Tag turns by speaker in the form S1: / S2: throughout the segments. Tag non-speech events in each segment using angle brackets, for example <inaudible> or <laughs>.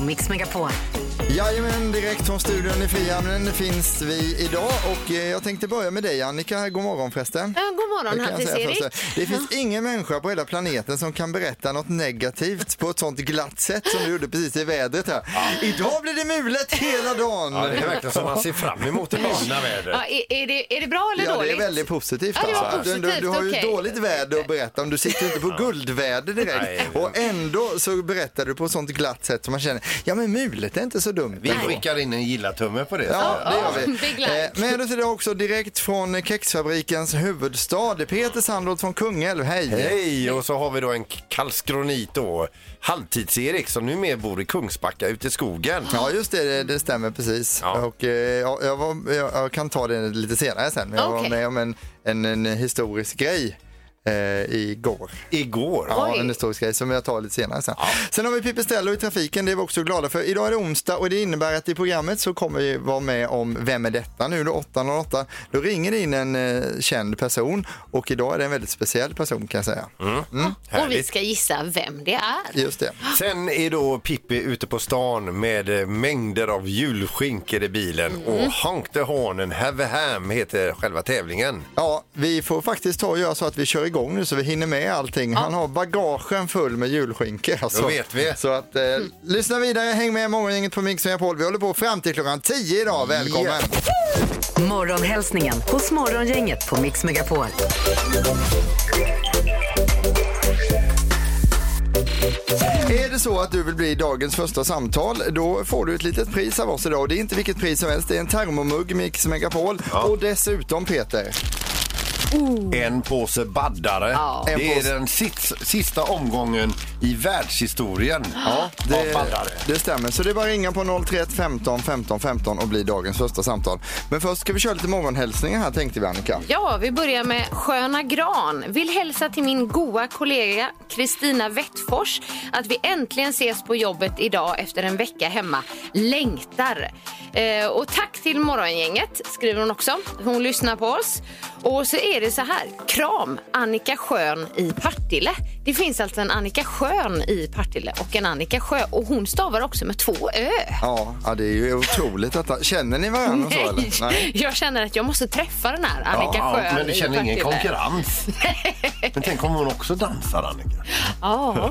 S1: Mix Megapol.
S2: Jajamän, direkt från studion i Frihamnen finns vi idag och eh, jag tänkte börja med dig Annika, god morgon förresten.
S3: Ja, god morgon,
S2: Det kan jag
S3: Hattis
S2: säga
S3: Erik.
S2: först. Det finns ingen människa på hela planeten som kan berätta något negativt på ett sånt glatt sätt som du gjorde precis i vädret här. Idag blir det mulet hela dagen.
S4: Ja, det är verkligen som man ser fram emot det fina vädret.
S3: Ja, är, är, det, är det bra eller
S2: Ja, det
S3: dåligt?
S2: är väldigt positivt.
S3: Ja, det var
S2: alltså. du, du,
S3: positivt,
S2: du har ju
S3: okej.
S2: dåligt väder att berätta om. Du sitter ju inte på guldväder direkt.
S4: Nej.
S2: Och ändå så berättar du på ett sånt glatt sätt som man känner, ja men mulet är inte så dumt.
S4: Vi
S2: ändå.
S4: skickar in en gilla-tumme på det.
S2: Ja, <laughs> det gör vi.
S3: Big like.
S2: Eh, Med oss idag också direkt från kexfabrikens huvudstad, Peter Sandholt från Kungälv. Hej!
S4: Hej! Och så har vi då en kalskronit då, Halvtids-Erik, som numera bor i Kungsbacka ute i skogen.
S2: Ja, just det, det, det stämmer precis.
S4: Ja.
S2: Och, eh, jag, jag, var, jag, jag kan ta det lite senare sen, men jag var
S3: Okej.
S2: med om en, en, en historisk grej eh, igår.
S4: Igår.
S2: Ja,
S3: Oj.
S2: en historisk grej som jag tar lite senare sen. Sen har vi Pipistrello i trafiken, det är vi också glada för. Idag är det onsdag och det innebär att i programmet så kommer vi vara med om Vem är detta nu då? 808. Då ringer det in en eh, känd person och idag är det en väldigt speciell person kan jag säga.
S4: Mm.
S3: Och vi ska gissa vem det är.
S2: Just det.
S4: Sen är då Pippi ute på stan med eh, mängder av julskinkor i bilen och Honk the Horn and Have a Ham heter själva tävlingen.
S2: Ja, vi får faktiskt ta och göra så att vi kör igång nu så vi hinner med allting. Han har bagagen full med julskinkor. Alltså.
S4: Då vet vi.
S2: Så att, eh, lyssna vidare, häng med morgongänget på Mix Megapol. Vi håller på fram till klockan 10 idag. Välkommen!
S4: Yeah.
S1: Morgonhälsningen hos Morgongänget på Mix Megapol.
S2: Är det så att du vill bli dagens första samtal, då får du ett litet pris av oss idag. Och det är inte vilket pris som helst, det är en termomugg Mix Megapol. Och dessutom Peter,
S4: En påse baddare.
S3: Ja.
S2: En
S4: Det är
S2: påse-
S4: den sits- sista omgången i världshistorien av
S2: det,
S4: baddare.
S2: eh, det stämmer. Så det är bara att ringa på 031 15 15 15 och bli dagens första samtal. Men först ska vi köra lite morgonhälsningar här tänkte vi Annika.
S3: Ja, vi börjar med Sköna Gran. Vill hälsa till min goa kollega Kristina Wettfors att vi äntligen ses på jobbet idag efter en vecka hemma. Längtar! Eh, och tack till Morgongänget, skriver hon också. Hon lyssnar på oss. Och så är det så här. Kram! Annika Schön i Partille. Det finns alltså en Annika Schön i Partille och en Annika Sjö. Och hon stavar också med två ö.
S2: Ja, ja, det är ju otroligt detta. Känner ni varandra så eller?
S3: Nej, <laughs> jag känner att jag måste träffa den här Annika
S4: Ja,
S3: Sjö.
S4: men du
S3: i
S4: känner ingen
S3: Partille. <laughs>
S4: konkurrens. men tänk om hon också dansar, Annika.
S3: Ja,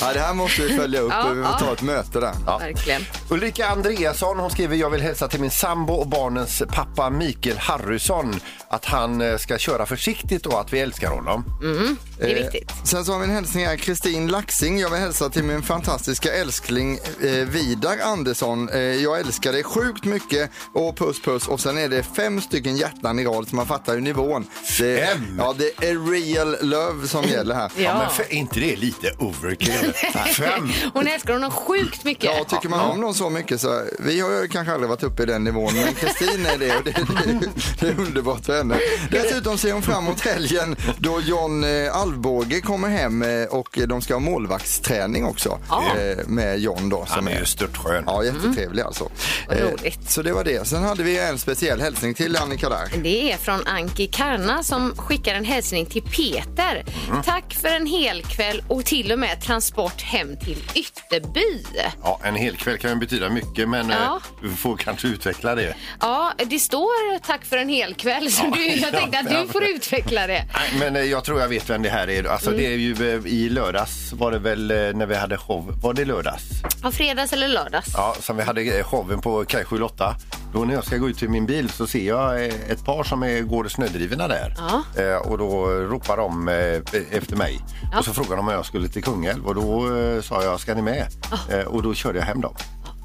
S2: Ja, det här måste vi följa upp.
S3: Ja,
S2: vi
S3: ja.
S2: måste ta ett möte där.
S3: verkligen.
S4: Ulrika Andreasson hon skriver jag vill hälsa till min sambo och barnens pappa Mikael Harrysson att han eh, ska köra försiktigt och att vi älskar honom.
S3: Mm. Det är viktigt.
S2: Eh, Sen så har vi en hälsning här, Kristin Laxing. Jag vill hälsa till min fantastiska älskling eh, Vidar Andersson. Eh, jag älskar dig sjukt mycket och puss puss. Och sen är det fem stycken hjärtan i rad så man fattar ju nivån. Det,
S4: Fem?
S2: Ja, det är real love som gäller här.
S4: Ja.
S3: Ja.
S4: men för, är inte det lite overkill?
S3: <laughs>
S4: Fem?
S3: Hon älskar honom sjukt mycket.
S2: Ja, tycker man om någon så mycket så, vi har ju kanske aldrig varit uppe i den nivån, men Kristin är det och det, det, det är underbart för henne. Dessutom ser hon fram emot helgen då John eh, Alvbåge kommer hem eh, och de ska ha målvaktsträning också eh, med John då.
S4: Han
S2: Som
S4: är ju störtskön.
S2: Ja, jättetrevlig alltså.
S3: Vad
S2: Eh,
S3: roligt.
S2: Så det var det. Sen hade vi en speciell hälsning till Annika där.
S3: Det är från Anki Karna som skickar en hälsning till Peter.
S4: Mm.
S3: Tack för en hel kväll och till och med transport hem till Ytterby.
S4: Ja, en hel kväll kan ju betyda mycket men eh,
S3: Ja.
S4: du får kanske utveckla det.
S3: Ja, det står tack för en hel kväll så
S4: Ja,
S3: du, jag tänkte att
S4: ja,
S3: du får
S4: ja.
S3: utveckla det.
S4: Nej, men eh, jag tror jag vet vem det här är. Alltså,
S3: Mm.
S4: Det är ju eh, i lördags var det väl eh, när vi hade show. Var det lördags?
S3: Ja, fredags eller lördags?
S4: Ja, som vi hade eh, showen på Kaj 78. Då när jag ska gå ut till min bil så ser jag eh, ett par som är, går snödrivna där.
S3: Ja.
S4: Eh, och då ropar de eh, efter mig. Och så frågade de om jag skulle till Kungälv och då eh, sa jag, ska ni med? Eh, och då körde jag hem dem.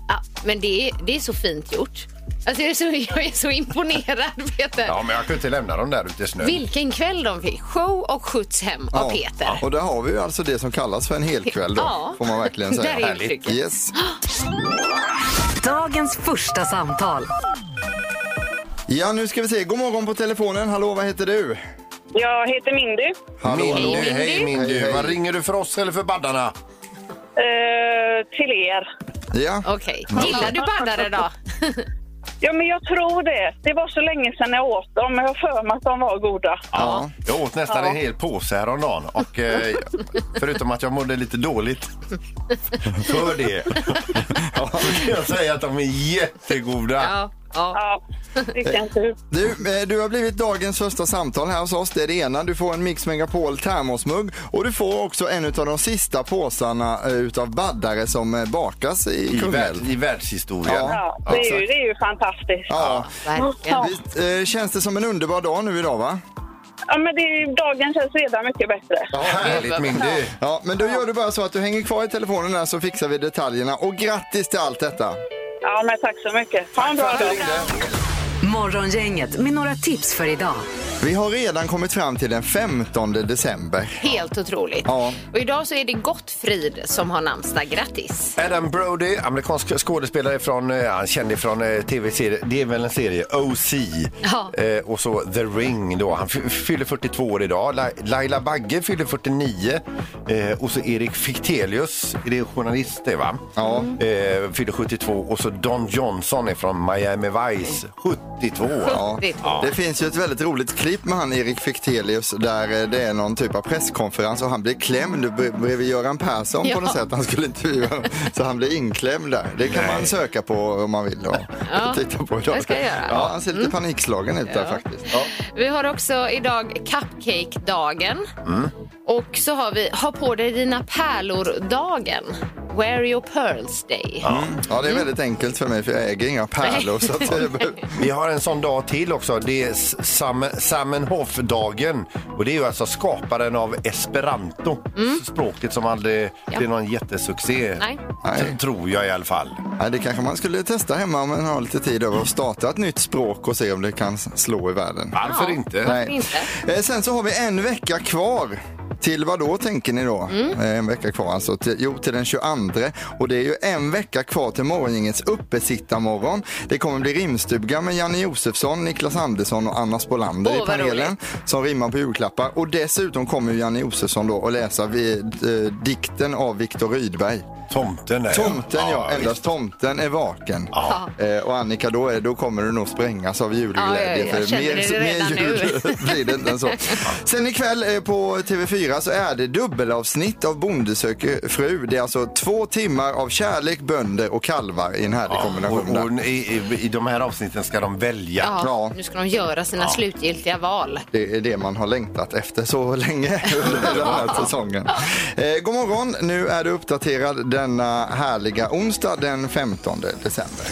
S3: Ja, men det är, det är så fint gjort. Alltså, jag, är så, jag är så imponerad, Peter.
S4: Ja, men jag kunde inte lämna dem där ute i snön.
S3: Vilken kväll de fick. Show och skjuts hem av Peter.
S2: Och där har vi ju alltså det som kallas för en helkväll då,
S3: Ja.
S2: får man
S3: <laughs>
S2: verkligen säga.
S3: Där är Härligt. uttrycket.
S2: Yes.
S1: Dagens första samtal.
S2: Ja, nu ska vi se. God morgon på telefonen. Hallå, vad heter du?
S5: Jag heter Mindy.
S2: Hallå,
S4: Min du,
S2: hallå.
S4: hej min
S2: Hej, hej.
S4: du. Vad ringer du för oss eller för baddarna?
S5: Eh, till er.
S2: Ja.
S3: Okej. Gillar du baddare då?
S5: Ja, men jag tror det. Det var så länge sedan jag åt dem, men jag har för mig att de var goda.
S4: Ja. Jag åt nästan en hel påse häromdagen. Och, eh, förutom att jag mådde lite dåligt för det. Ja, så kan jag säga att de är jättegoda.
S3: Ja, ja.
S5: Ja, vilken tur.
S2: Du, eh, du har blivit dagens första samtal här hos oss. Det är det ena. Du får en Mix Megapol termosmugg och du får också en av de sista påsarna eh, utav baddare som eh, bakas i
S4: I, värld,
S2: Kungälv.
S4: I världshistorien.
S2: Ja.
S5: Ja, det är ju, det är ju fantastiskt.
S2: Ja.
S3: verkligen.
S2: Visst, eh, känns det som en underbar dag nu idag va?
S5: Ja, men det är, ju- dagen känns redan mycket bättre.
S4: Ja, härligt Mindy.
S2: Ja, men då gör du bara så att du hänger kvar i telefonen där så fixar vi detaljerna. Och grattis till allt detta!
S5: Ja, men tack så mycket. Ha en bra dag.
S1: Morgongänget med några tips för idag.
S2: Vi har redan kommit fram till den 15 december.
S3: Helt otroligt.
S2: Ja.
S3: Och idag så är det Gottfrid som har namnsdag. Grattis!
S4: Adam Brody, amerikansk skådespelare från, eh, han kände från eh, tv-serien, det är väl en serie, OC.
S3: Ja.
S4: Eh, och så The Ring då, han f- fyller 42 år idag. La- Laila Bagge fyller 49. Eh, och så Erik Fichtelius, är det journalist det va?
S2: Ja.
S4: Eh, fyller 72 och så Don Johnson är från Miami Vice, 72.
S3: <laughs>
S2: Ja. Det finns ju ett väldigt roligt klipp med han Erik Fichtelius där eh, det är någon typ av presskonferens och han blir klämd bre- bredvid Göran Persson
S3: Ja.
S2: på något sätt. Han skulle inte Så han blir inklämd där. Det kan man söka på om man vill <laughs> och
S3: Ja,
S2: titta på idag.
S3: det ska jag göra. Mm.
S2: Ja, han ser lite panikslagen ut där faktiskt. Ja.
S3: Vi har också idag Cupcake-dagen.
S2: Mm.
S3: Och så har vi Ha på dig dina pärlor-dagen. Wear your pearls day.
S2: Mm. ja, det är
S3: Mm.
S2: väldigt enkelt för mig för jag äger inga pärlor. Så att, eh,
S4: Vi har en sån dag till också. Det är S- Sam, Samenhof-dagen. Och det är ju alltså skaparen av esperanto. Språket som aldrig
S3: Mm. Ja.
S4: blev någon jättesuccé.
S3: Nej.
S2: Nej.
S4: Tror jag i alla fall.
S2: nej, det kanske man skulle testa hemma om man har lite tid över och starta ett nytt språk och se om det kan slå i världen.
S4: Varför
S3: Ja.
S4: inte?
S2: Nej.
S3: inte?
S2: Eh, Sen så har vi en vecka kvar. Till vad då tänker ni då?
S3: Mm.
S2: Eh, En vecka kvar alltså. Till, jo, till den 22. Och det är ju en vecka kvar till morgongängets uppesittarmorgon. Det kommer bli rimstuga med Janne Josefsson, Niklas Andersson och Anna Spolander
S3: Åh,
S2: i
S3: vad
S2: panelen.
S3: roligt.
S2: Som rimmar på julklappar. Och dessutom kommer ju Janne Josefsson då att läsa vid, eh, dikten av Viktor Rydberg.
S4: Tomten är
S2: Tomten ja, endast
S4: visst.
S2: tomten är vaken.
S4: Ja.
S2: Eh, och Annika, då, är, då kommer du nog sprängas av
S3: Ja, ja,
S2: julglädje.
S3: jag känner det redan
S2: mer jul <laughs> blir det inte än så. Sen ikväll eh, på TV4 så är det dubbelavsnitt av Bonde söker fru. Det är alltså två timmar av kärlek, bönder och kalvar i en härlig kombination.
S4: Och,
S2: Där.
S4: och i, i, I de här avsnitten ska de välja.
S3: Ja,
S2: Ja.
S3: Nu ska de göra sina slutgiltiga val.
S2: Det är det man har längtat efter så länge <laughs> under den här säsongen. Eh, god morgon, nu är du uppdaterad denna härliga onsdag den 15 december.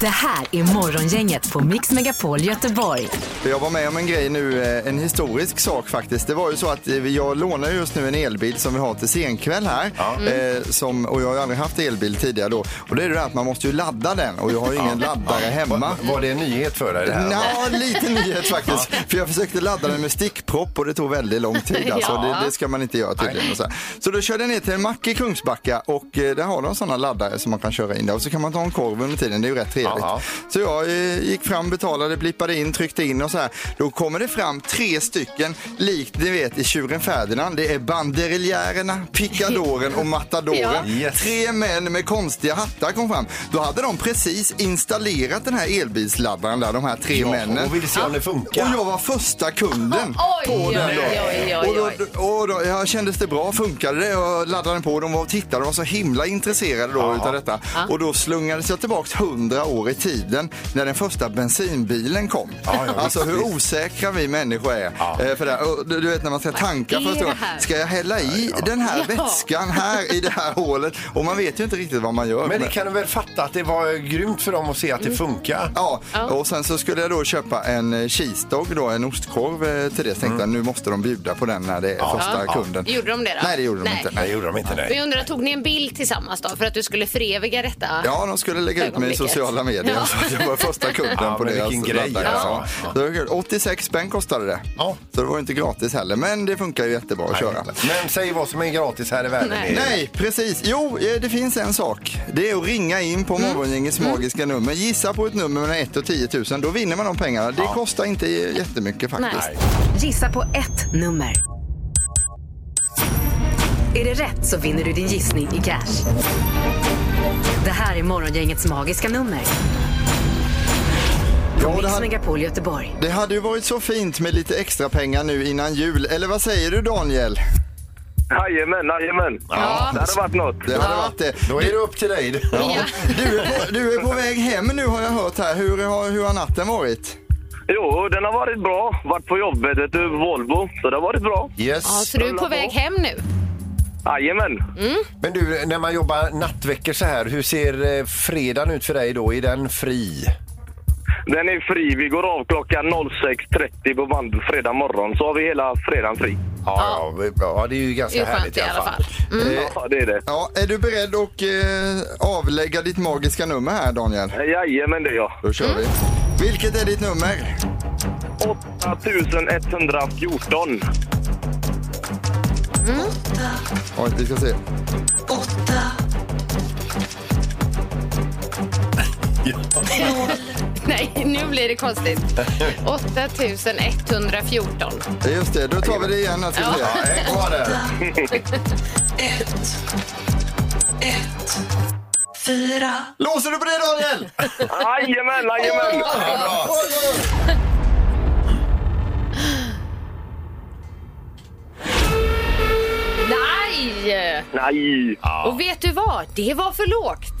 S1: Det här är Morgongänget på Mix Megapol Göteborg.
S2: För Jag var med om en grej nu, eh, en historisk sak faktiskt. Det var ju så att eh, jag lånar just nu en elbil som vi har till senkväll här. Eh, som, och jag har ju aldrig haft elbil tidigare då. Och det är ju det här att man måste ju ladda den och jag har ju ingen laddare hemma.
S4: Var, var det en nyhet för dig? Det här?
S2: Ja, lite nyhet faktiskt. För jag försökte ladda den med stickpropp och det tog väldigt
S4: <laughs>
S2: lång tid. Alltså.
S3: Ja.
S2: Det, det ska man inte göra tydligen. Och så, här. så då körde jag ner till en mack i Kungsbacka och eh, där har de sådana laddare som man kan köra in där. Och så kan man ta en korv under tiden, det är ju rätt trevligt.
S4: Ja.
S2: Så jag eh, gick fram, betalade, blippade in, tryckte in och så här. Då kommer det fram tre stycken, likt ni vet i Tjuren Ferdinand. Det
S4: <laughs>
S2: är banderilljärerna, pickadoren och matadoren.
S4: Ja. Yes.
S2: Tre män med konstiga hattar kom fram. Då hade de precis installerat den här elbilsladdaren där, de här tre
S4: Ja,
S2: männen.
S4: och ville se om det funkar.
S2: Och jag var första kunden
S3: Oj,
S2: Mm. på
S3: oj,
S2: den dagen.
S3: oj, oj,
S2: Och då,
S3: oj.
S2: och då, ja, kändes det bra? Funkade det? Jag laddade den på och de var och tittade. De var så himla intresserade då utav detta. Och då slungades jag tillbaks hundra år i tiden när den första bensinbilen kom.
S4: ja,
S2: alltså
S4: visst,
S2: hur osäkra vi människor är.
S4: Ja.
S2: Eh, För det. här. Och Du du vet när man ska tanka
S3: är
S2: första gången.
S3: det här?
S2: Ska jag hälla i den här
S3: Ja.
S2: vätskan här i det här hålet? Och man vet ju inte riktigt vad man gör.
S4: Men det
S2: Men-
S4: kan du väl fatta att det var grymt för dem att se att
S3: Mm.
S4: det funkar?
S2: Ja, och sen så skulle jag då köpa en eh, cheesedog då, en ostkorv eh, till det. Så tänkte
S4: Mm.
S2: jag nu måste de bjuda på den när det är första
S3: Ja.
S2: kunden.
S3: Gjorde de det då?
S2: Nej, det gjorde de
S3: Nej.
S2: inte.
S4: Nej, det gjorde de inte.
S3: Men
S4: Nej.
S3: jag undrar, tog ni en bild tillsammans då för att du skulle föreviga detta?
S2: Ja, de skulle lägga ut mig i
S3: Ögonblicket.
S2: sociala medier
S3: Ja.
S2: så att <laughs> jag var första kunden
S4: Ja,
S2: på
S4: men
S2: deras
S4: vilken grej,
S2: laddare.
S4: alltså.
S2: Ja. Det var kul. 86 spänn kostade det.
S4: Ja.
S2: Så det var ju inte gratis heller, men det funkar ju jättebra att köra.
S4: Men säg vad som är gratis här i världen.
S3: Nej.
S4: Erik.
S2: Nej, precis. Jo, eh, det finns en sak. Det är att ringa in på
S4: Mm.
S2: Morgongängets magiska nummer. Gissa på ett nummer mellan 1 och 10 000. Då vinner man de pengarna. Det kostar inte jättemycket faktiskt.
S3: Nej.
S1: Gissa på ett nummer. Är det rätt så vinner du din gissning i cash. Det här är liksom Morgongängets magiska nummer.
S2: Ja, det
S1: Mix
S2: hade,
S1: Megapol Göteborg.
S2: det hade ju varit så fint med lite extra pengar nu innan jul. Eller vad säger du Daniel?
S6: Jajamän, jajamän.
S3: Ja.
S6: Det hade varit något.
S2: Det hade varit det.
S4: Då är det upp till dig.
S3: Ja.
S2: Du är, på, du är på väg hem nu har jag hört här. Hur har, hur har natten varit?
S6: Jo, den har varit bra. Varit på jobbet, vet du, Volvo. Så det har varit bra.
S3: Ja,
S4: Yes.
S3: så du är på väg hem nu? <laughs>
S6: Jajamän.
S4: Men du, när man jobbar nattveckor så här, hur ser eh, fredagen ut för dig då? Är den fri?
S6: Den är fri. Vi går av klockan 06.30 på band fredag morgon. Så har vi hela fredagen fri.
S4: Ja, ja, ja det är ju ganska
S3: Det är
S4: härligt
S3: skönt i alla fall.
S6: Ja, det är det.
S2: Ja, är du beredd att eh, avlägga ditt magiska nummer här Daniel?
S6: Jajamän, det är jag.
S2: Då kör vi. Vilket är ditt nummer?
S6: 8114.
S2: Oj, vi ska se.
S3: Nej, nu blir det konstigt. 8114.
S2: Ja, Just det, då tar vi det igen här ska vi se.
S4: Ja, en kvar där.
S2: Låser du på det Daniel?
S6: Jajamän, jajamän.
S3: Nej!
S6: Nej.
S3: Och vet du vad? Det var för lågt.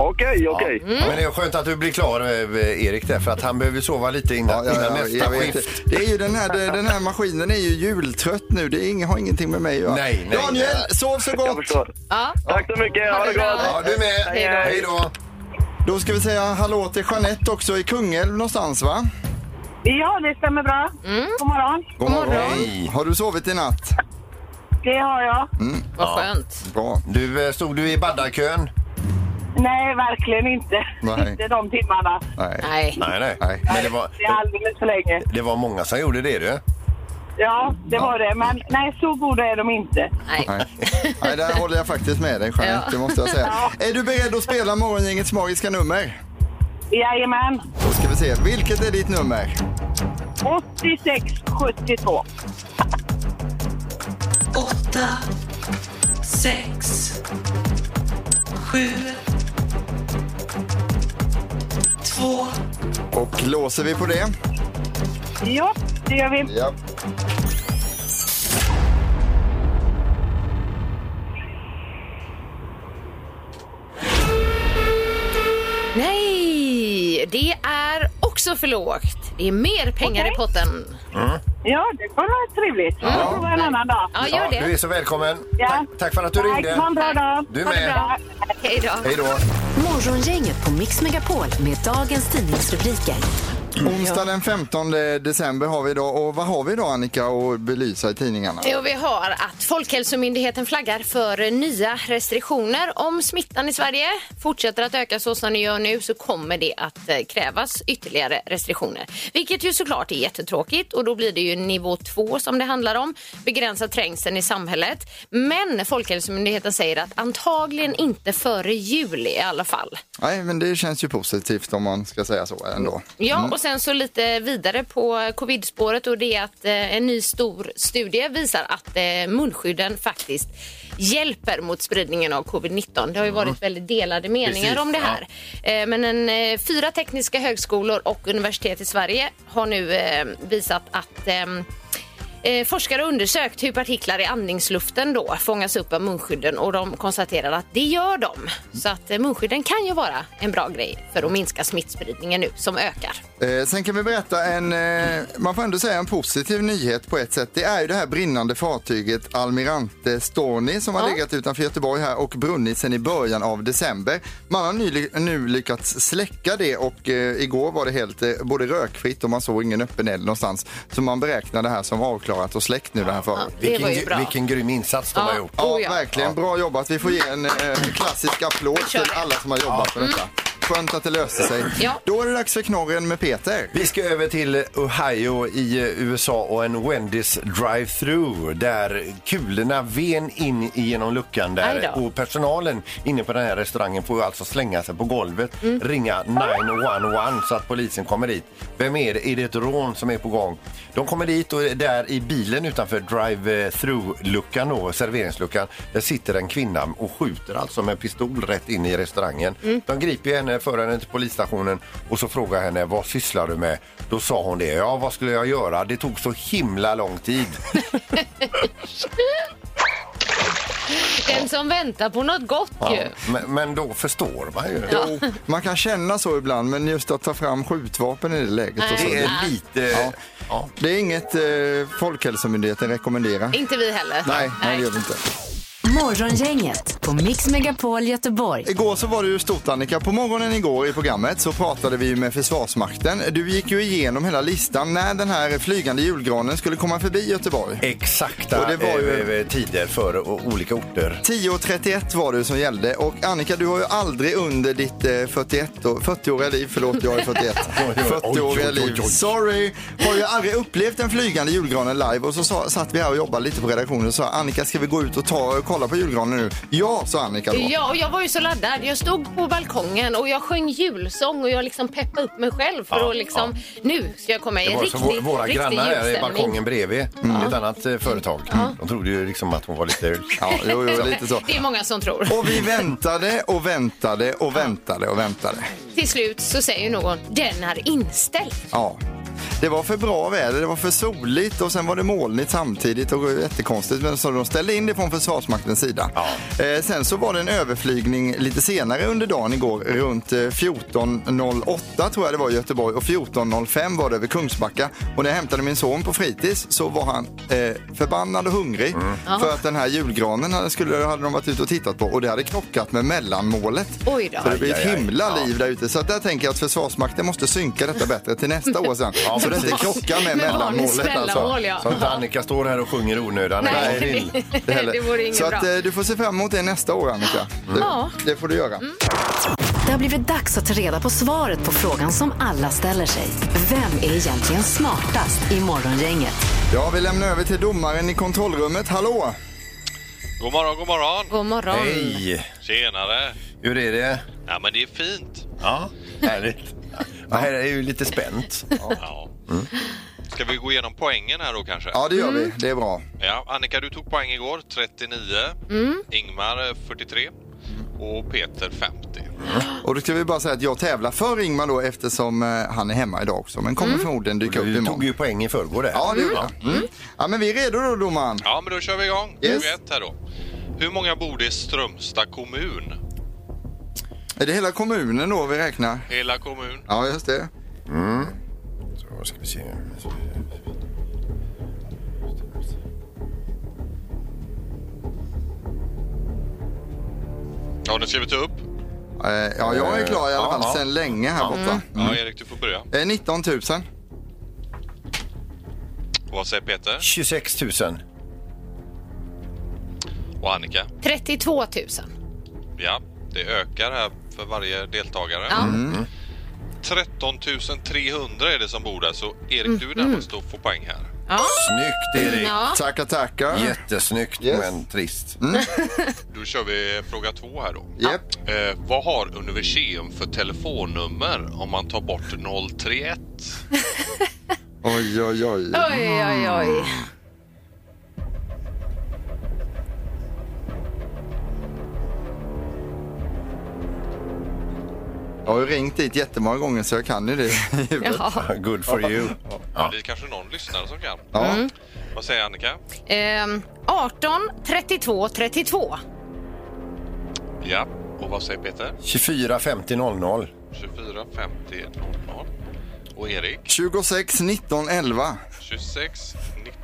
S6: Okej, okej.
S4: Ja,
S3: Mm.
S4: men det är skönt att du blir klar, eh, Erik, där, för att han behöver sova lite
S2: Ja,
S4: innan,
S2: ja,
S4: innan
S2: ja, jag
S4: nästa
S2: vet.
S4: skift.
S2: Det är ju den här, det- den här maskinen är ju jultrött nu. Det är ing, har ingenting med mig att göra.
S4: Nej, nej,
S2: Daniel,
S4: nej.
S2: sov så
S6: Jag
S2: gott!
S6: förstår.
S3: Ja.
S6: Tack så mycket.
S3: Ha
S6: Ha
S3: det
S6: det gott.
S4: Ja, du är med.
S6: Hej då.
S4: Hej då.
S2: Då ska vi säga hallå till Jeanette också i Kungälv någonstans va?
S7: Ja, det stämmer bra. God morgon.
S2: God
S3: morgon.
S2: Hej. Har du sovit i natt?
S7: Det har jag.
S3: Vad skönt.
S2: Bra.
S4: Du, eh, stod du i baddakön?
S7: Nej, verkligen inte.
S2: Nej.
S7: Inte de timmarna.
S2: Nej.
S3: Nej.
S4: Nej, nej.
S2: Nej.
S4: Men det var,
S7: Det är alldeles för länge.
S4: det var många som gjorde det, du.
S7: Ja, det var det. Men nej, så goda är de inte.
S3: Nej.
S2: Nej. Nej, där håller jag faktiskt med dig Jeanette,
S3: Ja.
S2: det måste jag säga. Är du beredd att spela Morgongängets magiska nummer?
S7: Jajamän.
S2: Då ska vi se, vilket är ditt nummer?
S7: 8672.
S2: Och låser vi på det?
S7: Ja, det gör vi.
S2: Ja.
S3: Nej, det är också för lågt. Det är mer pengar i
S7: Okej.
S3: potten.
S7: Ja, det kommer vara trevligt. Vi får prova en annan dag.
S3: Ja,
S4: Ja,
S3: gör
S4: du är
S3: det.
S4: så välkommen.
S7: Ja.
S4: Tack, tack för att du
S7: Tack, ha en
S4: ringde.
S7: bra dag.
S4: Du
S7: Ha det
S4: med.
S7: bra.
S3: Hej då.
S4: Hej då.
S1: Morgongänget på Mix Megapol med dagens tidningsrubriker.
S2: Onsdag den 15 december har vi idag och vad har vi idag Annika att belysa i tidningarna?
S3: Jo, vi har att Folkhälsomyndigheten flaggar för nya restriktioner. Om smittan i Sverige fortsätter att öka så som den gör nu så kommer det att eh, krävas ytterligare restriktioner. Vilket ju såklart är jättetråkigt och då blir det ju nivå två som det handlar om. Begränsa trängseln i samhället. Men Folkhälsomyndigheten säger att antagligen inte före jul i alla fall.
S2: Nej, men det känns ju positivt om man ska säga så ändå.
S3: Ja, och sen så lite vidare på covid-spåret och det är att eh, en ny stor studie visar att eh, munskydden faktiskt hjälper mot spridningen av covid-19. Det har ju varit väldigt delade meningar
S4: Precis,
S3: om det här. Eh, Men en, eh, fyra tekniska högskolor och universitet i Sverige har nu eh, visat att ehm, Eh, forskare har undersökt hur partiklar i andningsluften då fångas upp av munskydden och de konstaterar att det gör de. Så att eh, munskydden kan ju vara en bra grej för att minska smittspridningen nu som ökar.
S2: Eh, sen kan vi berätta en, eh, man får ändå säga en positiv nyhet på ett sätt. Det är ju det här brinnande fartyget Almirante Storni som har legat utanför Göteborg här och brunnit sedan i början av december. Man har ny, nu lyckats släcka det och eh, igår var det helt eh, både rökfritt och man såg ingen öppen eld någonstans. Så man beräknar det här som avklarat och släckt nu det här fartyget.
S3: Det var ju
S4: gr-
S3: bra.
S4: vilken grym insats de
S3: Ja.
S4: har gjort.
S2: Ja,
S3: Oh ja.
S2: verkligen. Bra jobbat. Vi får ge en eh, klassisk applåd
S3: kör
S2: till
S3: det.
S2: alla som har jobbat med detta. Skönt att det löste sig.
S3: Ja.
S2: Då är det dags för knorren med Peter.
S4: Vi ska över till Ohio i eh, USA och en Wendys drive-through där kulorna ven in genom luckan
S3: Aj
S4: där
S3: då.
S4: och personalen inne på den här restaurangen får ju alltså slänga sig på golvet,
S3: Mm.
S4: ringa 911 så att polisen kommer dit. Vem är det? Är det ett rån som är på gång? De kommer dit och där i bilen utanför drive-through-luckan då,
S3: Mm.
S4: serveringsluckan, där sitter en kvinna och skjuter alltså med pistol rätt in i restaurangen. De griper ju henne eh, förde henne till polisstationen och så frågade jag henne vad sysslar du med? Då sa hon det. Ja, vad skulle jag göra? Det tog så himla
S3: <laughs>
S4: lång tid.
S3: Den som väntar på något gott
S4: Ja,
S3: ju.
S4: men, men då förstår man ju.
S2: Jo, man kan känna så ibland, men just att ta fram skjutvapen i det läget. Och så.
S4: Det är lite... Ja. Ja.
S2: Det är inget eh, Folkhälsomyndigheten rekommenderar.
S3: Inte vi heller.
S2: Nej, nej, det gör vi inte.
S1: Morgongänget på Mix Megapol Göteborg.
S2: Igår så var det ju stort Annika. På morgonen igår i programmet så pratade vi ju med Försvarsmakten. Du gick ju igenom hela listan när den här flygande julgranen skulle komma förbi Göteborg.
S4: Exakta
S2: Och det var ju-
S4: eh, tider för o- olika orter.
S2: 10.31 var det som gällde och Annika du har ju aldrig under ditt eh, 41 år- 40-åriga liv, förlåt jag är 41,
S4: <laughs> oj, oj, oj,
S2: 40-åriga
S4: oj, oj, oj.
S2: liv, sorry, har ju aldrig upplevt en flygande julgranen live och så sa, satt vi här och jobbade lite på redaktionen och sa Annika ska vi gå ut och ta och kolla på julgranen nu? Ja, sa Annika då.
S3: Ja, och jag var ju så laddad. Jag stod på balkongen och jag sjöng julsång och jag liksom peppade upp mig själv för
S4: Ja,
S3: att liksom, nu ska jag komma i
S4: Det
S3: en
S4: var som vå-
S3: riktig,
S4: våra
S3: riktig
S4: grannar här i
S3: julstämning.
S4: balkongen bredvid, ett annat eh, företag. De trodde ju liksom att hon var lite...
S2: Ja, jo, jo, lite så.
S3: <laughs> Det är många som tror.
S2: Och vi väntade och väntade och väntade och väntade.
S3: Till slut så säger någon, den är inställd.
S2: Ja. Det var för bra väder, det var för soligt och sen var det molnigt samtidigt och det var jättekonstigt. Men så de ställde in det från Försvarsmaktens sida.
S4: Ja.
S2: Eh, sen så var det en överflygning lite senare under dagen igår runt eh, 14.08 tror jag det var i Göteborg och 14.05 var det över Kungsbacka. Och när jag hämtade min son på fritids så var han eh, förbannad och hungrig för att den här julgranen hade, skulle, hade de varit ute och tittat på och det hade krockat med mellanmålet.
S3: Oj då.
S2: Så det blir ett
S4: Aj, aj, aj.
S2: himla
S4: Ja.
S2: liv där ute. Så att där tänker jag att Försvarsmakten måste synka detta bättre
S4: <laughs>
S2: till nästa år sen.
S4: Ja,
S2: så det inte
S4: precis.
S2: krockar med
S3: Med barnens
S2: mellanmålet. Alltså.
S3: mellanmål, ja.
S4: Så att Annika står här och sjunger i onödan.
S3: Nej.
S4: Nej.
S3: <laughs>
S4: Grill.
S2: Det heller.
S3: Det vore inget
S2: så att,
S3: bra.
S2: eh, du får se fram emot det nästa år Annika.
S4: Mm.
S2: Det,
S3: Ja.
S2: det får du göra.
S1: Det har blivit dags att ta reda på svaret på frågan som alla ställer sig. Vem är egentligen smartast i Morgongänget?
S2: Ja, vi lämnar över till domaren i kontrollrummet. Hallå!
S8: God morgon, god morgon!
S3: God morgon.
S4: Hej!
S8: Tjenare!
S4: Hur är det?
S8: Ja, men det är fint.
S4: Ja, härligt. Ja, här är ju lite spänt.
S8: Ja. Ska vi gå igenom poängen här då kanske?
S2: Ja, det gör vi.
S4: Mm.
S2: Det är bra.
S8: Ja, Annika, du tog poäng igår, 39. Ingmar eh, 43. Och Peter 50.
S2: Och då ska vi bara säga att jag tävlar för Ingmar då eftersom eh, han är hemma idag också. Men kommer förmodligen dyka upp
S4: Du Mm. tog
S2: imorgon.
S4: ju poäng i förrgår där.
S2: Ja, det gjorde jag. Mm. Ja, men vi är redo då domaren.
S8: Ja, men då kör vi igång.
S2: Yes.
S8: Fråga ett här då. Hur många bor det i Strömstad kommun?
S2: Är det hela kommunen då vi räknar?
S8: Hela kommun.
S2: Ja, just det.
S4: Så ska vi se.
S8: Har ni skrivit upp?
S2: Eh, Ja, jag är klar i alla
S4: Ja,
S2: fall
S4: ja. Mm.
S2: sedan länge här borta.
S8: Ja, Erik, du får börja.
S2: Eh, 19 000.
S8: Vad säger Peter
S4: 26 000.
S8: och Annika?
S3: 32 000.
S8: Ja, det ökar här för varje deltagare.
S3: Ja.
S8: 13 300 är det som bor där, så Erik, du är närmast att få poäng här.
S3: Ja.
S4: Snyggt Erik!
S3: Ja.
S2: Tackar, tackar.
S4: Jättesnyggt
S2: Ah. Yes. Mm.
S4: men trist.
S8: Då kör vi fråga två här då.
S2: Japp.
S8: Eh, vad har Universium för telefonnummer om man tar bort 031?
S2: Oj, oj, oj.
S3: Oj, oj, oj.
S2: Jag har ju ringt dit jättemånga gånger så jag kan ju det i <laughs> huvudet.
S3: Ja.
S4: <laughs> Good for you.
S8: Ja. Det är kanske någon lyssnare som kan.
S2: Ja.
S8: Vad säger Annika?
S3: Ehm, 18, 32, 32.
S8: Ja. Och vad säger Peter?
S4: 24 50 00.
S8: 24 50 00. Och Erik?
S2: 26, 19, 11.
S8: 26,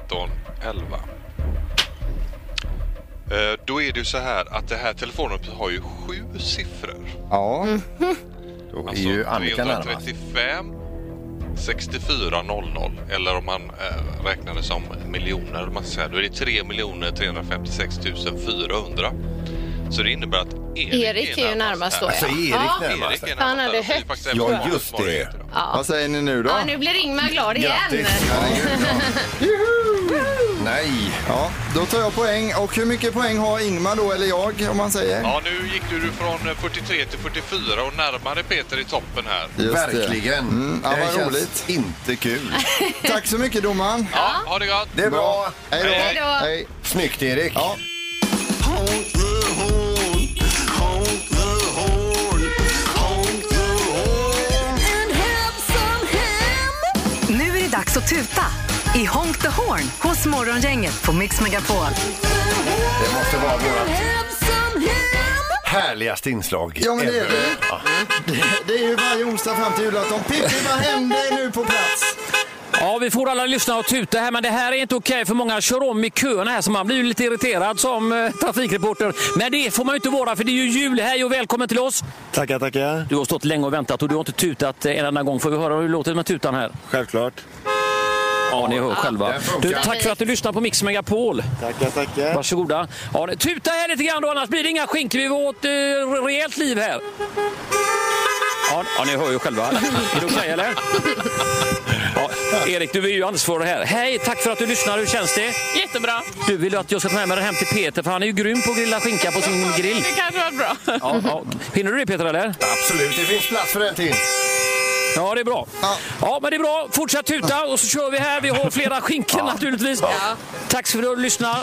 S8: 19, 11. Eh, Då är det ju så här att det här telefonnumret har ju sju siffror.
S2: Ja,
S4: Då är
S8: Alltså
S4: ju Annika närmast.
S8: 335 64 00 eller om man eh, räknar det som miljoner. eller Man ska säga, då är det 3 miljoner 356 400. Så det innebär att Erik,
S3: Erik är ju närmast då.
S8: här.
S4: Alltså,
S3: ja.
S4: Erik
S3: ja.
S4: närmast.
S8: Erik är
S3: Han hade
S8: närmast. här. Och det är
S3: högt
S8: faktiskt även
S4: Ja,
S8: Ingmar
S4: just
S8: som har
S4: det.
S8: då.
S2: vad säger ni nu då?
S3: Ja, nu blir Ingmar glad igen.
S4: Grattis! Nej!
S2: Ja, då tar jag poäng. Och hur mycket poäng har Ingmar då, eller jag, om man säger?
S8: Ja, nu gick du från eh, 43 till 44 och närmare Peter i toppen här.
S2: Just det.
S4: Verkligen!
S2: Mm, ja,
S4: det här
S2: vad
S4: känns
S2: roligt.
S4: inte kul.
S2: <laughs> Tack så mycket domaren.
S8: Ja, ha det gott!
S4: Det är bra!
S2: Hej då.
S8: Hej
S3: då.
S2: Hej.
S4: Snyggt Erik!
S2: Ja.
S9: Honk the horn, honk the horn, honk the
S1: dags att tuta i Honk the Horn hos Morgongänget på Mix Megapol.
S4: Det måste vara vårt härligaste inslag.
S2: Ja, men det är
S4: ever.
S2: det.
S4: Ja.
S2: Det- Det är ju varje onsdag fram till julafton. Pippi, vad händer nu på plats?
S9: Ja, vi får alla lyssna och tuta här, men det här är inte okej för många kör om i köerna här så man blir ju lite irriterad som eh, trafikreporter. Men det får man ju inte vara för det är ju jul. Hej och välkommen till oss!
S10: Tackar, tackar.
S9: Du har stått länge och väntat och du har inte tutat eh, en enda gång. Får vi höra hur det låter med tutan här?
S10: Självklart.
S9: Ja, ni hör själva.
S4: det funkar.
S9: Du, tack för att du lyssnar på Mix Megapol.
S10: Tackar, tackar.
S9: Varsågoda. Ja, det- tuta här lite grann då, annars blir det inga skink. Vi får åt eh, rejält liv här. Ja, ja, ni hör ju själva. Är det okej eller? Ja, Erik, du är ju ansvarig här. Hej, tack för att du lyssnar. Hur känns det?
S11: Jättebra.
S9: Du vill ju att jag ska ta med mig den hem till Peter för han är ju grym på att grilla skinka på sin grill.
S11: Det kanske var bra.
S9: Ja, ja. Hinner du det Peter eller?
S4: Absolut, det finns plats för en till.
S9: Ja, det är bra. Ja, men det är bra. Fortsätt tuta och så kör vi här. Vi har flera skinken naturligtvis. Tack för att du lyssnar.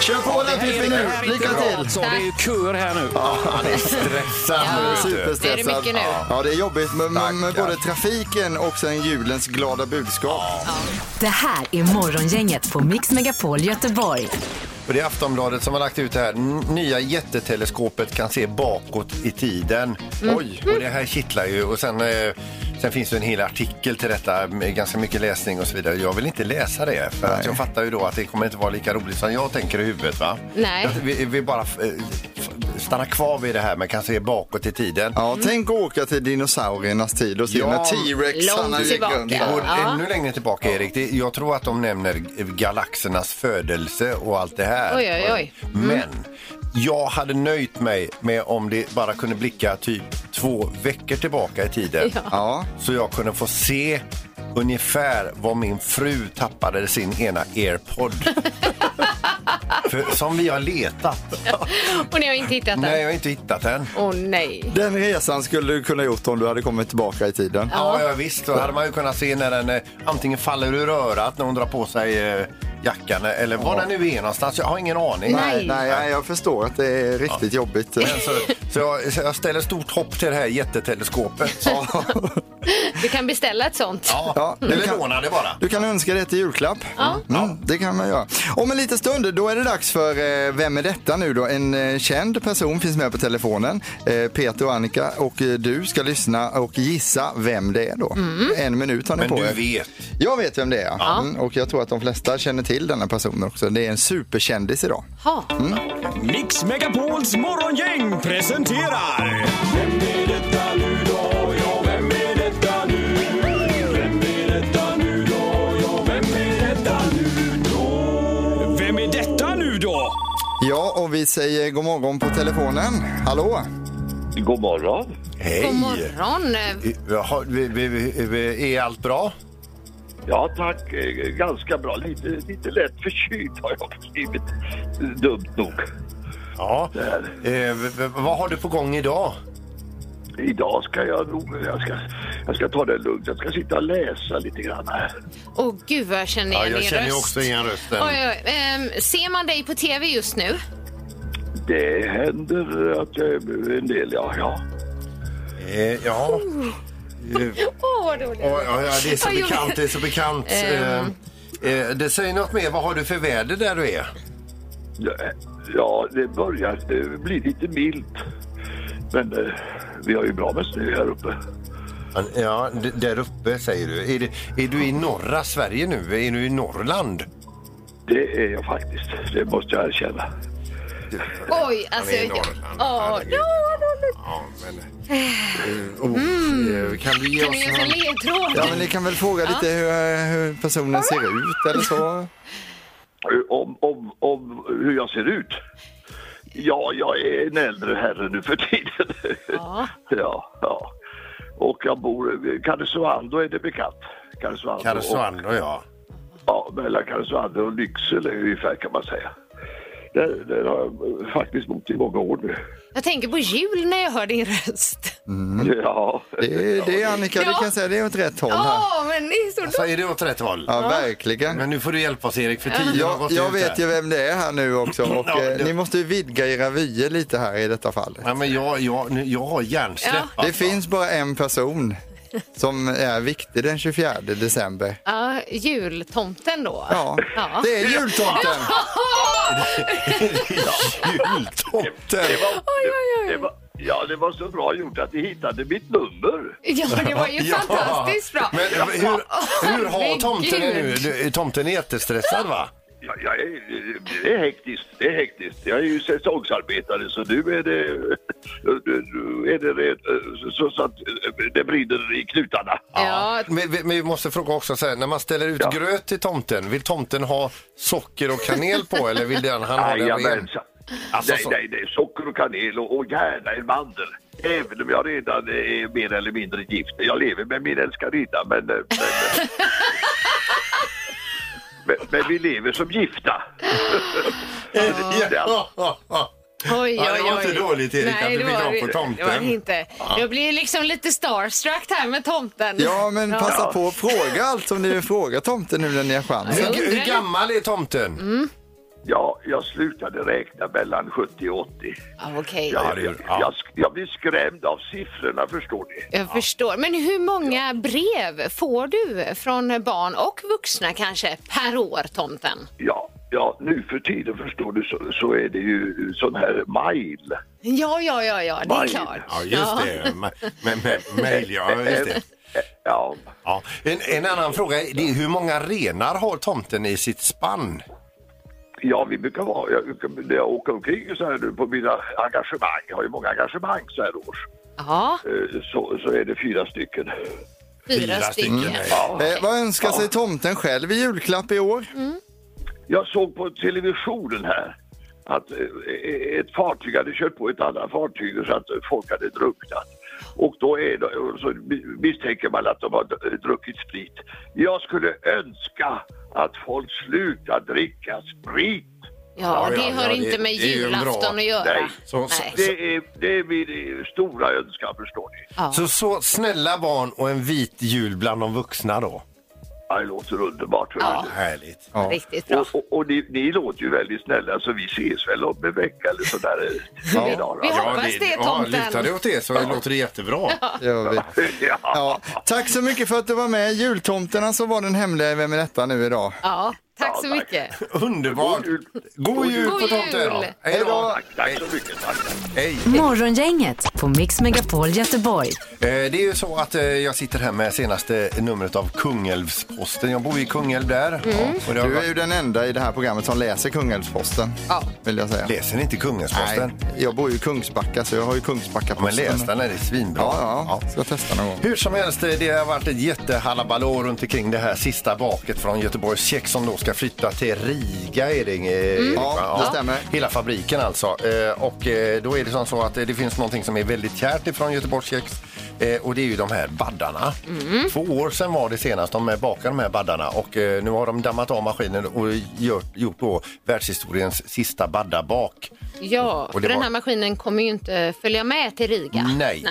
S2: Kör på den Pippi
S9: Det
S2: nu.
S9: här är inte
S2: Lycka
S9: bra,
S2: till.
S9: Alltså. Det är ju köer här nu.
S4: Ja, han är stressad nu. vet du.
S2: Superstressad.
S3: Det är det mycket nu.
S2: Ja, det är jobbigt med, med, med
S4: Tackar.
S2: både trafiken och sen julens glada budskap.
S1: Det här är Morgongänget på Mix Megapol Göteborg.
S4: Och det är Aftonbladet som har lagt ut det här. N- Nya jätteteleskopet kan se bakåt i tiden. Oj! Och det här kittlar ju. Och sen, eh, sen finns det en hel artikel till detta med ganska mycket läsning och så vidare. Jag vill inte läsa det för att jag fattar ju då att det kommer inte vara lika roligt som jag tänker i huvudet va?
S3: Nej.
S4: Jag- Vi, vi bara eh, f- stannar kvar vid det här men kan se bakåt i tiden.
S2: Ja, tänk att åka till dinosauriernas tid och se
S4: Ja.
S2: när T-Rex
S3: Långt
S2: han gick
S3: tillbaka.
S2: runt.
S4: Det går
S2: där.
S3: Ja.
S4: ännu längre tillbaka, Erik. Det, jag tror att de nämner galaxernas födelse och allt det här.
S3: Oj, oj, oj. Mm.
S4: Men jag hade nöjt mig med om det bara kunde blicka typ två veckor tillbaka i tiden.
S2: Ja.
S4: Så jag kunde få se ungefär var min fru tappade sin ena airpod.
S3: <laughs>
S4: För, som vi har letat.
S3: Och ni har inte hittat
S4: Nej,
S3: den?
S4: jag har inte hittat den.
S3: Åh nej.
S2: Den resan skulle du kunna gjort om du hade kommit tillbaka i tiden.
S4: Ja, ja visst. Då hade man ju kunnat se när den eh, antingen faller ur örat när hon drar på sig eh, jackan eh, eller var den nu är någonstans. Jag har ingen aning.
S2: Nej, nej, nej, jag förstår att det är riktigt jobbigt.
S4: Men Så, så, jag, så jag ställer stort hopp till det här jätteteleskopet.
S2: <laughs> Ja.
S3: Du kan beställa ett sånt.
S4: Ja,
S2: Ja, det
S4: Mm. eller
S2: kan-
S4: låna det bara.
S2: Du kan önska det till julklapp. Mm, det kan man göra. Om en liten stund, då är det dags för eh, Vem är detta nu då? En eh, känd person finns med på telefonen. Eh, Peter och Annika och eh, du ska lyssna och gissa vem det är då. En minut har ni
S4: Men
S2: på
S4: du
S2: er.
S4: vet.
S2: Jag vet vem det är. Mm, och jag tror att de flesta känner till denna personen också. Det är en superkändis idag.
S3: Ha.
S10: Mix Megapols morgongäng presenterar... Vem är detta nu då? Ja, vem är detta nu? Vem är detta nu då? Ja, vem är detta nu då? Vem är detta nu då?
S2: Ja, och vi säger god morgon på telefonen. Hallå?
S6: God morgon.
S4: Hej!
S3: God morgon. Eh,
S4: Jaha, vi, vi, vi, vi, är allt bra?
S6: Ja, tack. Eh, Ganska bra. Lite, lite lätt förkyld har jag blivit. Dumt nog.
S4: Ja. Eh, v- v- vad har du på gång idag?
S6: Idag ska jag nog... Jag ska, jag ska ta det lugnt. Jag ska sitta och läsa lite grann här.
S3: Åh gud vad jag känner igen
S4: jag
S3: din
S4: känner ju
S3: röst.
S4: också igen rösten.
S3: Oj, oj, oj. Ehm, ser man dig på tv just nu?
S6: Det händer att jag är en del, ja. ja.
S4: Eh, ja.
S3: Åh, vad roligt.
S4: Ja, ja, ja, det är så
S3: Vad Ehm.
S4: bekant.
S3: jobbigt.
S4: Det är
S3: <laughs>
S4: så bekant. Eh, eh, det säger något mer. Vad har du för väder där du är?
S6: Ja, det börjar eh, bli lite milt. Men eh, vi har ju bra med snö här uppe.
S4: Ja, d- där uppe säger du. Är, det, är du i norra Sverige nu? Är du i Norrland?
S6: Det är jag faktiskt. Det måste jag erkänna.
S3: Oj, alltså.
S4: Han är i
S3: jag-
S4: Norrland.
S3: Ja,
S4: Herregud. Ja, men... eh, oh, eh, Kan du ge
S3: Mm. Kan
S4: oss
S3: du ge oss en
S4: någon...
S3: ledtråd?
S2: Ja, men ni kan väl fråga lite hur, eh, hur personen ser ut eller så.
S6: Eh, Om, om, om hur jag ser ut? Ja, jag är en äldre herre nu för tiden.
S3: Ja.
S6: <laughs> ja, ja. Och jag bor i Karesuando, är det bekant? Karesuando. Och,
S4: Karesuando, ja.
S6: ja, mellan Karesuando och Lycksele ungefär kan man säga. Där, där har jag eh, faktiskt bott i många år nu.
S3: Jag tänker på jul när jag hör din röst.
S6: Ja.
S2: Det är, det är Annika, det
S3: Ja.
S2: kan jag säga, det är åt rätt håll här.
S3: Ja, men det är så
S4: Så är det åt rätt håll?
S2: Ja, verkligen.
S4: Men nu får du hjälpa oss, Erik, för tiden har
S2: Jag,
S4: gått
S2: jag
S4: ut
S2: vet
S4: här.
S2: ju vem det är här nu också och
S4: Ja,
S2: eh,
S4: det-
S2: ni måste ju vidga era vyer lite här i detta fallet.
S4: Ja, men jag, jag, nu- jag har hjärnsläpp.
S3: Ja.
S2: Det finns bara en person som är viktig den 24 december.
S3: Ja, jultomten då.
S2: Ja, det är jultomten.
S4: Jultomten!
S6: Det var, det, det var, ja, det var så bra gjort att ni hittade mitt nummer.
S3: Ja, det var ju
S4: <laughs> Ja.
S3: fantastiskt bra. Alltså,
S4: Men hur, hur har
S3: Herregud.
S4: tomten det nu? Du- Tomten är jättestressad va?
S6: Ja, jag är, det är hektiskt, det är hektiskt. Jag är ju säsongsarbetare så nu är det, nu är det, red- så, så att det brinner i knutarna.
S3: Ja,
S4: Men, vi- men vi måste fråga också, så här, när man ställer ut gröt till tomten, vill tomten ha socker och kanel på eller vill den, han ha den ren?
S6: Jajamensan.
S4: Alltså,
S6: nej,
S4: så-
S6: nej, nej, socker och kanel och, och gärna en mandel. Även om jag redan är mer eller mindre gift. Jag lever med min älskarinna, men... <laughs> eh, Men, men, men vi lever som gifta.
S4: Ja.
S3: Oj,
S4: Ja,
S3: oj,
S4: det var
S3: oj.
S4: inte dåligt, Erik, att
S3: Nej,
S4: du
S3: det
S4: fick
S3: var
S4: av på
S3: det-
S4: tomten.
S3: Det var det inte. Jag blir liksom lite starstruck här med tomten.
S2: Ja, men passa på att fråga allt som ni vill fråga tomten nu när ni har chans.
S4: Hur, hur gammal är tomten?
S3: Mm.
S6: Ja, jag slutade räkna mellan 70 och 80.
S3: Ja, Okej,
S4: Ja, det
S6: Jag,
S4: är-
S6: jag,
S4: ja.
S6: jag, sk- jag blir skrämd av siffrorna, förstår ni.
S3: jag förstår. Men hur många brev får du från barn och vuxna kanske per år, tomten?
S6: Ja, ja nu för tiden, förstår du, så, så är det ju sån här mile.
S3: Ja, ja, ja, ja, det är
S6: Maj.
S3: klart.
S4: Ja, just det. Ma- Men, men, mail, ja, just det.
S6: Ja,
S4: Ja. En, en annan fråga är det är hur många renar har tomten i sitt spann?
S6: Ja, vi brukar vara, jag, när jag åker omkring så här nu på mina engagemang, jag har ju många engagemang så här års,
S3: Ja,
S6: eh, så, så är det fyra stycken.
S3: fyra, stycken.
S6: Ja.
S2: Eh, vad önskar sig tomten själv i julklapp i år?
S6: Jag såg på televisionen här att eh, ett fartyg hade kört på ett annat fartyg så att folk hade drunknat. Och då är det, och så misstänker man att de har d- druckit sprit. Jag skulle önska att folk slutar dricka sprit.
S3: Ja,
S4: Ja,
S3: det
S4: ja,
S3: hör
S4: ja, det-
S3: inte med
S4: det är ju en bra-
S3: julafton att göra.
S6: Nej.
S4: Så- så-
S3: Nej.
S6: Det är, det är min eh, stora önskan, förstår ni.
S3: Ja.
S4: Så, så snälla barn och en vit jul bland de vuxna då.
S6: Ja, Det låter underbart. hörru
S3: Ja.
S6: du.
S4: Härligt.
S3: Riktigt bra.
S6: Och, och, och ni, ni låter ju väldigt snälla så vi ses väl om en vecka eller sådär.
S2: Ja.
S3: Vi
S6: Ja.
S3: hoppas det, tomten.
S4: Ja, lutar det åt det så låter
S3: <laughs>
S4: det jättebra.
S2: Det gör vi.
S6: Ja.
S2: Ja, tack så mycket för att du var med. Jultomten alltså var den hemliga i Vem är detta nu idag.
S3: Ja, tack
S6: Ja,
S3: så
S6: tack.
S3: mycket.
S4: Underbart!
S6: God jul.
S4: God jul
S3: God
S4: på tomten!
S3: jul.
S4: Hej då!
S6: Tack, tack så mycket. Tack.
S4: Hej.
S1: Morgongänget på Mix Megapol Göteborg.
S4: Eh, Det är ju så att eh, jag sitter här med senaste numret av Kungälvsposten. Jag bor i Kungälv där.
S3: Mm.
S4: Ja, och det har
S2: Du är
S4: varit...
S2: ju den enda i det här programmet som läser Kungälvsposten.
S3: Ja.
S2: Vill jag säga.
S4: Läser ni inte Kungälvsposten?
S2: Nej, jag bor ju i Kungsbacka så jag har ju
S4: Ja, men
S2: Kungsbacka-posten.
S4: läs den, den är svinbra.
S2: Ja, ja, ska jag testa någon gång.
S4: Hur som helst, eh, det har varit ett jättehallabaloo runt omkring det här sista baket från Göteborgs Tjeck som då ska flytta till Riga. Är det, eh, Erik,
S2: Mm. Ja,
S4: va?
S2: det stämmer.
S4: Hela fabriken alltså. Eh, Och eh, då är det som så att eh, det finns någonting som är väldigt kärt ifrån Göteborgs Tjeck eh, och det är ju de här baddarna.
S2: Mm.
S4: Två år sedan var det senast de eh, bakade de här baddarna och eh, nu har de dammat av maskinen och gjort, gjort då världshistoriens sista baddabak.
S3: Ja,
S4: Och
S3: för
S4: det
S3: den
S4: var-
S3: här maskinen kommer ju inte följa med till Riga.
S4: Nej.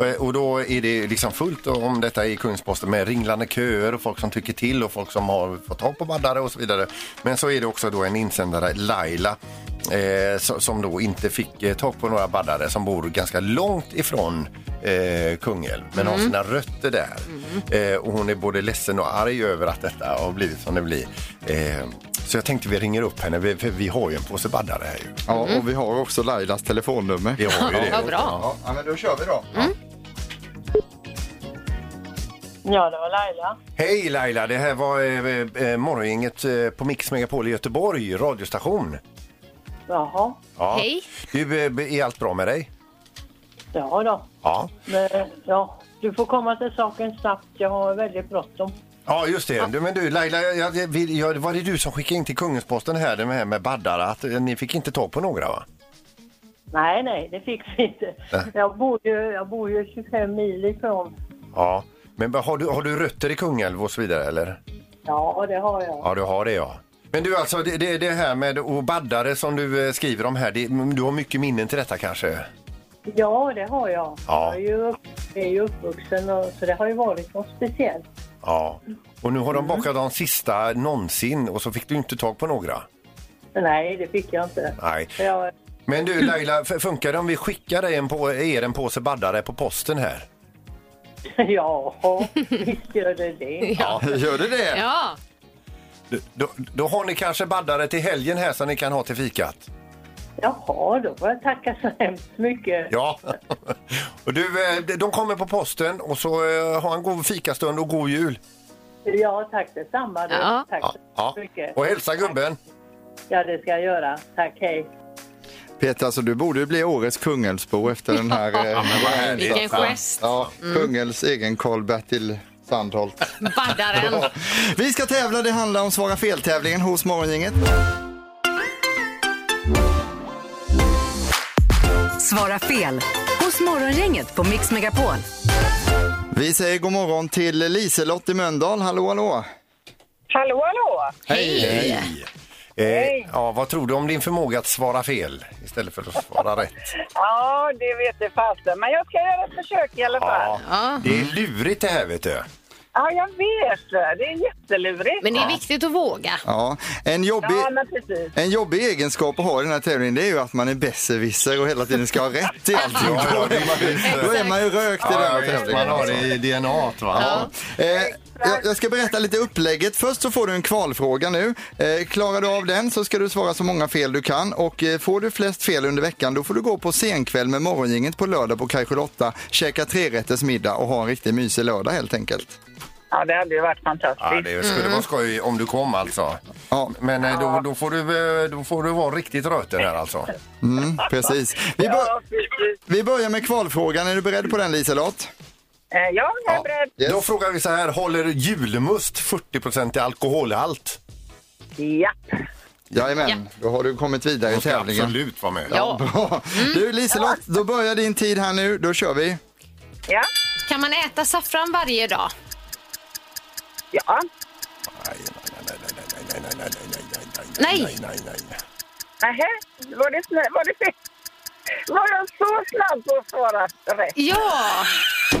S3: Nej.
S4: Eh, Och då är det liksom fullt om detta i Kungsposten med ringlande köer och folk som tycker till och folk som har fått tag på baddare och så vidare. Men så är det också då en insändare, Laila, eh, so- som då inte fick eh, tag på några baddare som bor ganska långt ifrån eh, Kungälv men har sina rötter där. Eh, och hon är både ledsen och arg över att detta har blivit som det blir. Eh, så jag tänkte vi ringer upp henne, vi, för vi har ju en påse baddare här ju.
S2: Ja, och vi har också Lailas telefonnummer.
S4: Vi har ju det.
S3: Vad Mm. bra. Mm.
S2: Ja, ja, men då kör vi då.
S7: Ja, det var Laila.
S4: Hej Laila, det här var eh, eh, morgongänget eh, på Mix Megapol i Göteborg, radiostation.
S7: Jaha,
S4: Ja.
S3: Hej.
S4: Du, eh, är allt bra med dig?
S7: ja då.
S4: Ja.
S7: Men, ja, du får komma till saken snabbt. Jag har väldigt bråttom.
S4: Ja, just det. Du, men du Laila, jag, jag, vill- jag, var det du som skickade in till Kungensposten här, det här med baddare, att eh, ni fick inte tag på några va?
S7: Nej, nej, det fick vi inte.
S4: Nej.
S7: Jag bor, ju, jag bor ju 25 mil ifrån.
S4: Ja. Men har du, har du rötter i Kungälv och så vidare eller?
S7: Ja, det har jag.
S4: Ja, du har det ja. Men du alltså, det, det, det här med och baddare som du eh, skriver om här, det, du har mycket minnen till detta kanske?
S7: Ja, det har jag.
S4: Ja.
S7: Jag är ju, upp, jag är ju uppvuxen, och, så det har ju varit något speciellt.
S4: Ja. Och nu har de bakat de sista någonsin och så fick du inte tag på några?
S7: Men Nej, det fick jag inte.
S4: Nej.
S7: För Jag,
S4: Men du Laila, f- funkar det om vi skickar dig en på, er en påse baddare på posten här?
S7: <laughs> Ja, visst gör det det.
S4: Ja.
S2: Gör det det?
S3: Ja.
S4: Då, då har ni kanske baddare till helgen här som ni kan ha till fikat.
S7: Jaha, då får jag tacka så hemskt mycket.
S4: Ja. <laughs> Och du, eh, de kommer på posten och så eh, ha en god fikastund och god jul.
S7: Ja, tack detsamma. Då.
S3: Ja.
S7: Tack
S4: Ja, ja.
S7: så mycket.
S4: Och hälsa gubben.
S7: Ja, det ska jag göra. Tack, hej.
S2: Peter, alltså, du borde ju bli årets Kungälvsbo efter
S3: <laughs>
S2: den här... eh,
S4: härligt.
S3: Vilken gest. Mm.
S2: ja, Kungälvs egen Karl-Bertil
S3: <laughs>
S2: Sandholt.
S4: <laughs>
S3: Baddaren.
S2: Ja. Vi ska tävla, det handlar om Svara fel-tävlingen hos Morgongänget.
S1: Svara fel hos Morgongänget på Mix Megapol.
S2: Vi säger god morgon till Liselott i Mölndal. Hallå, hallå!
S5: Hallå, hallå!
S3: Hej.
S4: Eh, ja, vad tror du om din förmåga att svara fel istället för att svara rätt?
S5: Ja, det vet jag fasen. Men jag ska göra ett försök i alla fall. Ja,
S4: Ja, det är lurigt det här vet du.
S5: jag vet. Det är jättelurigt.
S3: Men det är viktigt att våga.
S2: Ja, en jobbig...
S5: Ja, men precis.
S2: En jobbig egenskap att ha i den här tävlingen det är ju att man är besserwisser och hela tiden ska ha rätt i allting.
S4: <laughs> Ja, ja, det är man ju.
S2: Då är man ju rökt i den här tävlingen.
S4: man har det i DNA. Va?
S2: Eh, jag, jag ska berätta lite upplägget. Först så får du en kvalfråga nu. Eh, klarar du av den så ska du svara så många fel du kan. Och eh, får du flest fel under veckan då får du gå på senkväll med Morgongänget på lördag på Kaj 8, käka trerätters middag och ha en riktigt mysig lördag helt enkelt.
S5: Ja, det hade ju varit fantastiskt.
S4: Ja, det skulle vara skoj om du kom alltså.
S2: Ja.
S4: Men eh, då, då, får du, eh, då får du vara riktigt röten här alltså.
S2: Mm, precis. Vi, bör,
S5: Ja, precis.
S2: vi börjar med kvalfrågan. Är du beredd på den Liselott?
S5: Eh, Ja, jag är beredd.
S2: Yes.
S4: Då frågar vi så här, håller julmust 40 i alkoholhalt?
S5: Ja.
S2: Jajamän, då har du kommit vidare i
S4: Hon ska
S2: tävlingen.
S4: absolut vara med.
S3: Ja.
S2: <laughs> Bra. Du Liselott, då börjar din tid här nu. Då kör vi.
S5: Ja.
S3: Kan man äta saffran varje dag?
S5: Ja.
S4: Nej, nej, nej, nej, nej, nej, nej, nej,
S3: Nej.
S4: nej, nej, nej, nej.
S5: Nähä, var det snö? Var det <laughs> fel? Var jag så snabb på att svara rätt?
S3: Ja!